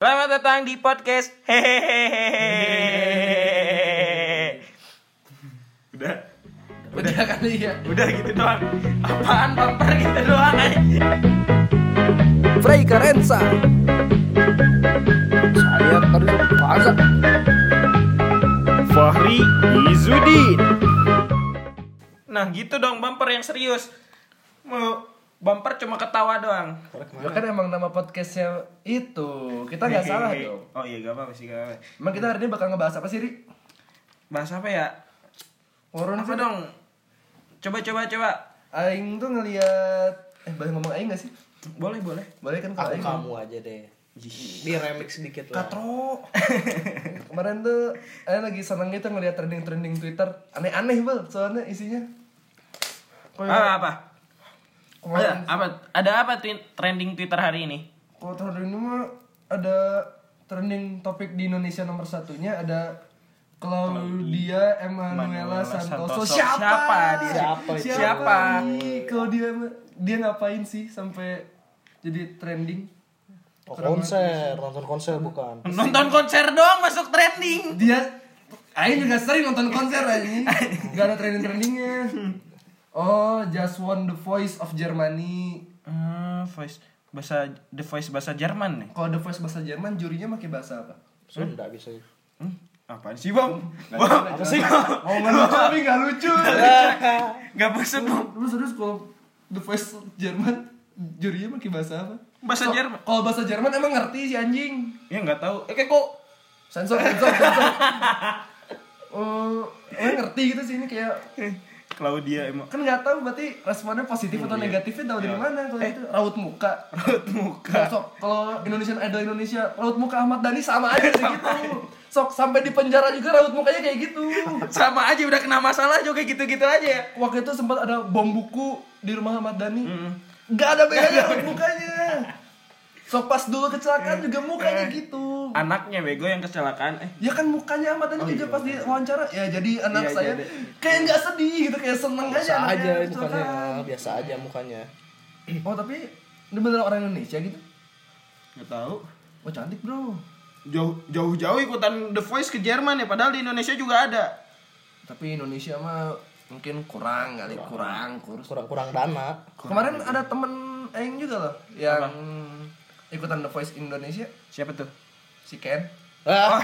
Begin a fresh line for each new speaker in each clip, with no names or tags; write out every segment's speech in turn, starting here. Selamat datang di podcast hehehehe. Udah,
Udah kali ya.
udah gitu doang. Apaan bumper gitu doang? anjing.
Frey Karensa. Saya tadi puasa.
Fahri Izudin
Nah gitu dong bumper yang serius. Mau bumper cuma ketawa doang.
Ya kan emang nama podcastnya itu. Kita nggak salah
Hehehe.
dong.
Oh iya gak apa-apa sih gak apa
Emang kita hari ini bakal ngebahas apa sih, Ri?
Bahas apa ya?
Orang
Apa
sih.
dong? Coba coba coba.
Aing tuh ngeliat eh boleh ngomong aing gak sih?
Boleh boleh.
Boleh kan kalau aing.
aku kamu aja deh di remix sedikit lah
Oh,
Katro. Kemarin tuh aing lagi seneng gitu ngeliat trending-trending Twitter. Aneh-aneh, Bel, soalnya isinya. ya?
Ah, iya. apa? Ada
Kemarin
apa? Ada apa twi- trending Twitter hari ini?
Kalau tahun ini mah ada trending topik di Indonesia nomor satunya ada Claudia
Manuela
Emanuela Santoso.
Santoso.
Siapa?
Siapa dia?
Siapa itu?
Siapa? nih? Claudia Ma- dia ngapain sih sampai jadi trending?
oh, konser nonton konser bukan
Nonton konser doang masuk trending.
Dia Aing juga sering nonton konser ini Gak ada trending-trendingnya Oh, just won the voice of Germany
Ah, voice bahasa The Voice bahasa Jerman nih.
Kalau the voice bahasa Jerman, jurinya pakai bahasa apa?
Sunda bisa ya.
Hmm? Apaan sih, Bang?
Apa sih? Mau nggak lucu tapi nggak lucu
Gak maksud Bang.
Lu serius kalau The Voice Jerman jurinya pakai bahasa apa?
Bahasa
Kalau-
Jerman.
Kalau bahasa Jerman emang ngerti si anjing.
Ya nggak tahu. Oke kok
Sensor, sensor, sensor. Oh, emang ngerti gitu sih ini kayak
Claudia emang
kan nggak tahu berarti responnya positif atau negatifnya tahu dari mana kalau itu raut muka.
raut muka.
Nah, Sok kalau Indonesian Idol Indonesia raut muka Ahmad Dhani sama aja sih gitu. Sok sampai di penjara juga raut mukanya kayak gitu.
Sama aja udah kena masalah juga gitu-gitu aja ya.
Waktu itu sempat ada bom buku di rumah Ahmad Dhani. Gak ada bedanya raut mukanya. So pas dulu kecelakaan juga mukanya gitu.
Anaknya bego yang kecelakaan. Eh,
Ya kan mukanya Ahmad Dhani juga pas di wawancara ya jadi
Iya,
anak
gitu
saya
jadi.
kayak nggak sedih gitu kayak seneng
biasa
aja
aja
anaknya
kan.
mukanya
kecelakaan.
biasa aja mukanya
Oh tapi ini beneran orang Indonesia gitu.
nggak tahu.
Wah cantik bro.
Jauh jauh-jauh ikutan The Voice ke Jerman ya, padahal di Indonesia juga ada.
Tapi Indonesia mah mungkin kurang kali kurang kurus.
kurang kurang dana
Kemarin
gitu.
ada temen Aing juga loh yang ikutan The Voice Indonesia
Siapa tuh?
si Ken.
ah,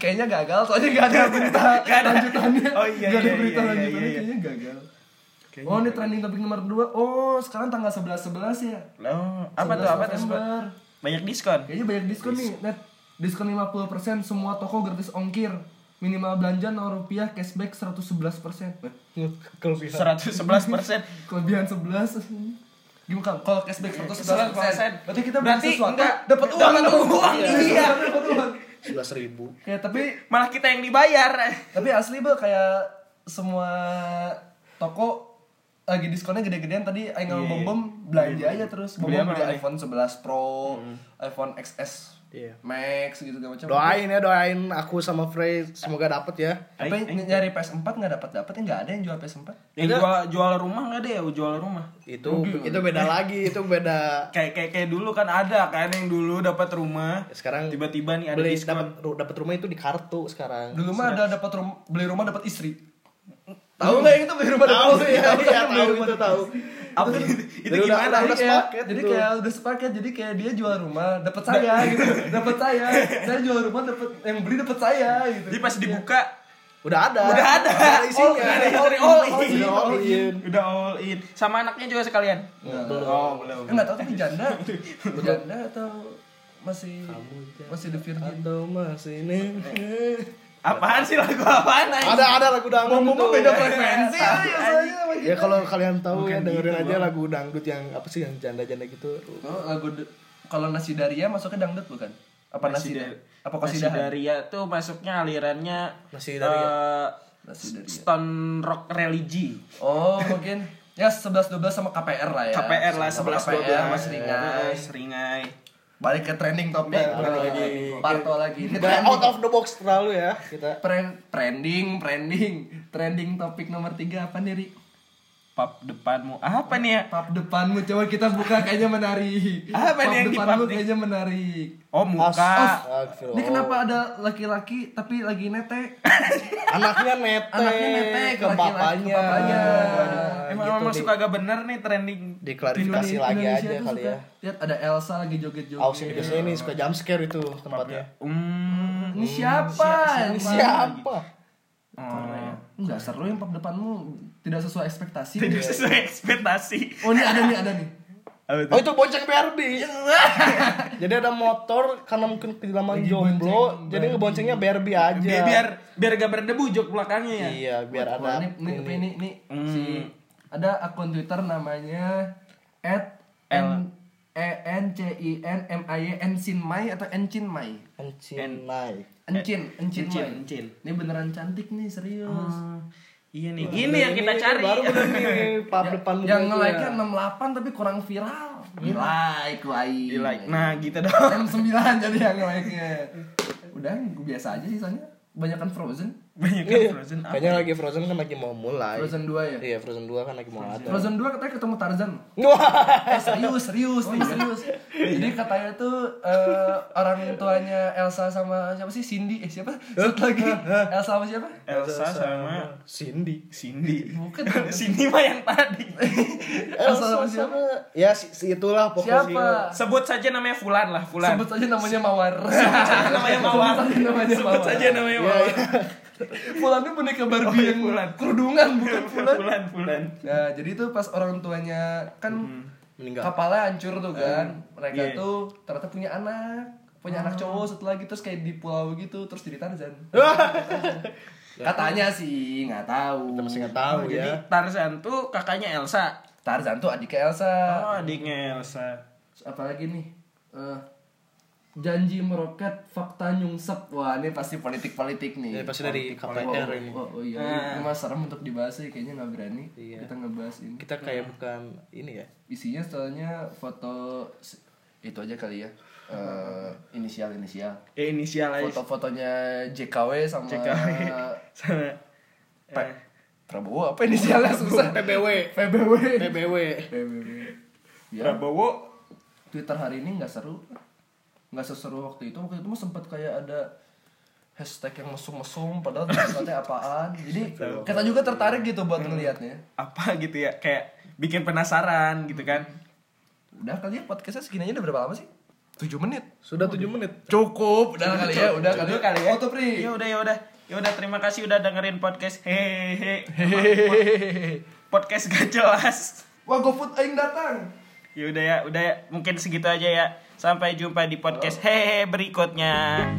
Kayaknya gagal soalnya gak ada berita lanjutannya.
Oh, iya,
Gak ada
iya, iya,
berita
iya,
lanjutannya
iya.
kayaknya gagal. oh, ini trending topik nomor 2. Oh, sekarang tanggal 11 11 ya.
Oh, apa tuh? Apa tuh? Sebab-
November.
Banyak diskon.
Kayaknya banyak diskon nih, Net. Diskon 50% semua toko gratis ongkir. Minimal belanja 0 rupiah, cashback 111%. Nah,
kelebihan
111%.
Kelebihan 11 Gimana Kang? kalau cashback
111%.
111 Berarti kita
Berarti
beli sesuatu
enggak.
dapat uang
Dapat uang, iya.
Dapat uang.
sebelas ribu
Kayak tapi
Malah kita yang dibayar.
Tapi asli bel kayak semua toko lagi diskonnya gede-gedean tadi aing
Iya,
sama Bom Bom belanja aja terus Bom
Beli
Bom
apa
beli
namanya?
iPhone 11 Pro, iPhone XS
Iya.
Max gitu segala macam.
doain ya doain aku sama Frey semoga dapet ya
Tapi ny- nyari PS4 nggak dapat dapat nggak ada yang jual PS4.
Yang jual jual rumah nggak ada ya jual rumah.
itu
Hmm.
itu beda lagi itu beda
Kayak kayak kayak dulu kan ada kan yang dulu dapat rumah.
sekarang
Tiba-tiba nih ada
beli
diskon.
dapat ru- dapat rumah itu di kartu sekarang
Dulu mah ada dapat rum- beli rumah dapat istri. Tahu nggak yang itu beli rumah dapat istri?
ya
Tahu kan
iya
beli
tahu
rumah
itu
dapat
tahu
istri?
Apa itu, itu
Udah,
gimana?
udah,
jadi kayak, ya.
udah. sepaket
jadi
tuh.
kayak udah sepaket jadi kayak dia jual rumah dapat saya gitu dapat saya saya jual rumah dapat yang beli dapat saya gitu
Jadi pas dibuka
udah ada
Udah ada.
isinya
Udah ada.
Udah
All in.
Udah all in
udah all in. Sama anaknya juga sekalian. Oh, belum.
nggak tahu tapi janda janda atau masih masih the virgin
atau masih ini
Apaan sih lagu apaan? Nay?
ada ada lagu dangdut
ngomong
tuh.
beda frekuensi aja, ya saya sama
ya
kita.
kalau kalian tahu ya dengerin aja lagu dangdut yang apa sih yang janda-janda gitu
Oh, lagu de- kalau nasi daria masuknya dangdut bukan apa nasi
Nasidaria.
dari apa kosidahan
Nasidaria tuh masuknya alirannya
Nasidaria.
eh,
Nasidaria.
Stone rock religi.
oh mungkin ya 11 12 sama KPR lah ya
KPR lah
Sama
11
KPR sama seringai
Eh, Seringai.
balik ke trending topik
Parto lagi.
parto lagi ini
Udah out of the box terlalu ya kita
Tren- trending, trending, trending topik nomor tiga apa nih Ri?
pap depanmu apa nih ya?
Pap depanmu coba kita buka kayaknya menarik.
Apa
Pap
nih yang di pap
depanmu
nih?
kayaknya menarik.
Oh muka.
Astagfirullah.
Ini kenapa ada laki-laki tapi lagi netek?
Anaknya netek,
Anaknya netek,
ke
laki-laki,
bapaknya.
ke bapaknya.
Eh, Emang
Gitu,
emang
Di.
suka agak bener nih trending.
Diklarifikasi
Indonesia-
lagi
Indonesia
aja
tuh
kali
suka-
ya.
Lihat ada Elsa lagi joget-joget.
Ausin biasanya ini suka jump scare itu tempatnya.
Hmm.
Ini siapa? Ini siapa?
Siapa?
Oh.
Enggak seru yang pap depanmu tidak sesuai ekspektasi.
Tidak sesuai ekspektasi.
Oh ini ada nih ada nih.
Apa
Oh
tuh?
itu bonceng BRB. jadi ada motor karena mungkin kelamaan jomblo, jadi ngeboncengnya BRB aja.
Biar biar, biar gambar debu jok belakangnya ya.
Iya, biar
Wah,
ada
ini ini ini, ini, ini si ada akun Twitter namanya at
L.
e n c i n m i y encin mai atau encin mai
encin naik.
encin
Encin,
encin mai
Encin.
ini beneran cantik nih serius
Ah, Iya nih, gini yang kita cari. kan?
Baru bener nih, pub depan gue
yang
itu
nge
ya.
like nya 68 tapi kurang viral di like like
Di like. Nah, gitu dong.
m 9 jadi yang nge like nya udah biasa aja sisanya banyakkan frozen
Banyak
Iya,
yang frozen apa?
Kayaknya lagi Frozen kan lagi mau mulai.
frozen 2 ya
Iya, Frozen 2 kan lagi mau ada.
Frozen 2 katanya ketemu Tarzan
Wah.
Eh, serius serius nih serius jadi katanya tuh eh, orang tuanya Elsa sama siapa sih Cindy eh siapa satu lagi Elsa sama siapa
Elsa sama
Cindy.
Cindy.
Bukan.
Cindy mah yang tadi.
Elsa sama siapa
eh, Ya si, si itulah pokoknya.
siapa
Sebut saja namanya Fulan lah, Fulan.
sebut saja namanya Mawar
saja namanya Mawar.
Sebut saja namanya
Sebut
Mawar.
saja namanya Mawar.
Fulan tuh boneka Barbie yang
Fulan.
kerudungan bukan Fulan
Fulan, Fulan.
nah jadi tuh pas orang tuanya kan
Meninggal.
kapalnya hancur tuh kan mereka
iya.
tuh ternyata punya anak punya anak
Oh.
cowok satu lagi terus kayak di pulau gitu terus jadi Tarzan katanya sih nggak tahu
Kita masih nggak tahu
Oh,
ya.
Jadi Tarzan tuh kakaknya Elsa.
Tarzan tuh adiknya Elsa
Oh, adiknya Elsa.
Terus apalagi nih eh, janji meroket fakta nyungsep wah ini pasti politik politik nih
Ya, pasti dari KPR ini. Ah.
oh, oh iya ini mah serem untuk dibahas sih kayaknya nggak berani
Iya.
kita ngebahas ini
Kita
Hmm.
kayak bukan ini ya.
isinya soalnya foto itu aja kali ya Eh, inisial inisial
Eh, inisial aja.
foto-fotonya JKW sama
Sama. eh,
Pe- Prabowo apa inisialnya susah
PBW.
PBW
PBW.
PBW ya
Prabowo.
Twitter hari ini nggak seru nggak seseru waktu itu waktu itu mah sempat kayak ada hashtag yang mesum-mesum padahal tulisannya apaan jadi kita juga tertarik gitu buat ngelihatnya
apa gitu ya kayak bikin penasaran gitu kan
udah kali ya podcastnya segini aja udah berapa lama sih 7 menit
Sudah 7 menit.
cukup udah kali ya udah kali ya
Cukup kali ya.
Tutup, Pri.
ya udah ya udah ya udah terima kasih udah dengerin podcast hehehe podcast gak jelas
wah GoFood aing datang
ya udah ya udah ya. mungkin segitu aja ya sampai jumpa di podcast hehehe berikutnya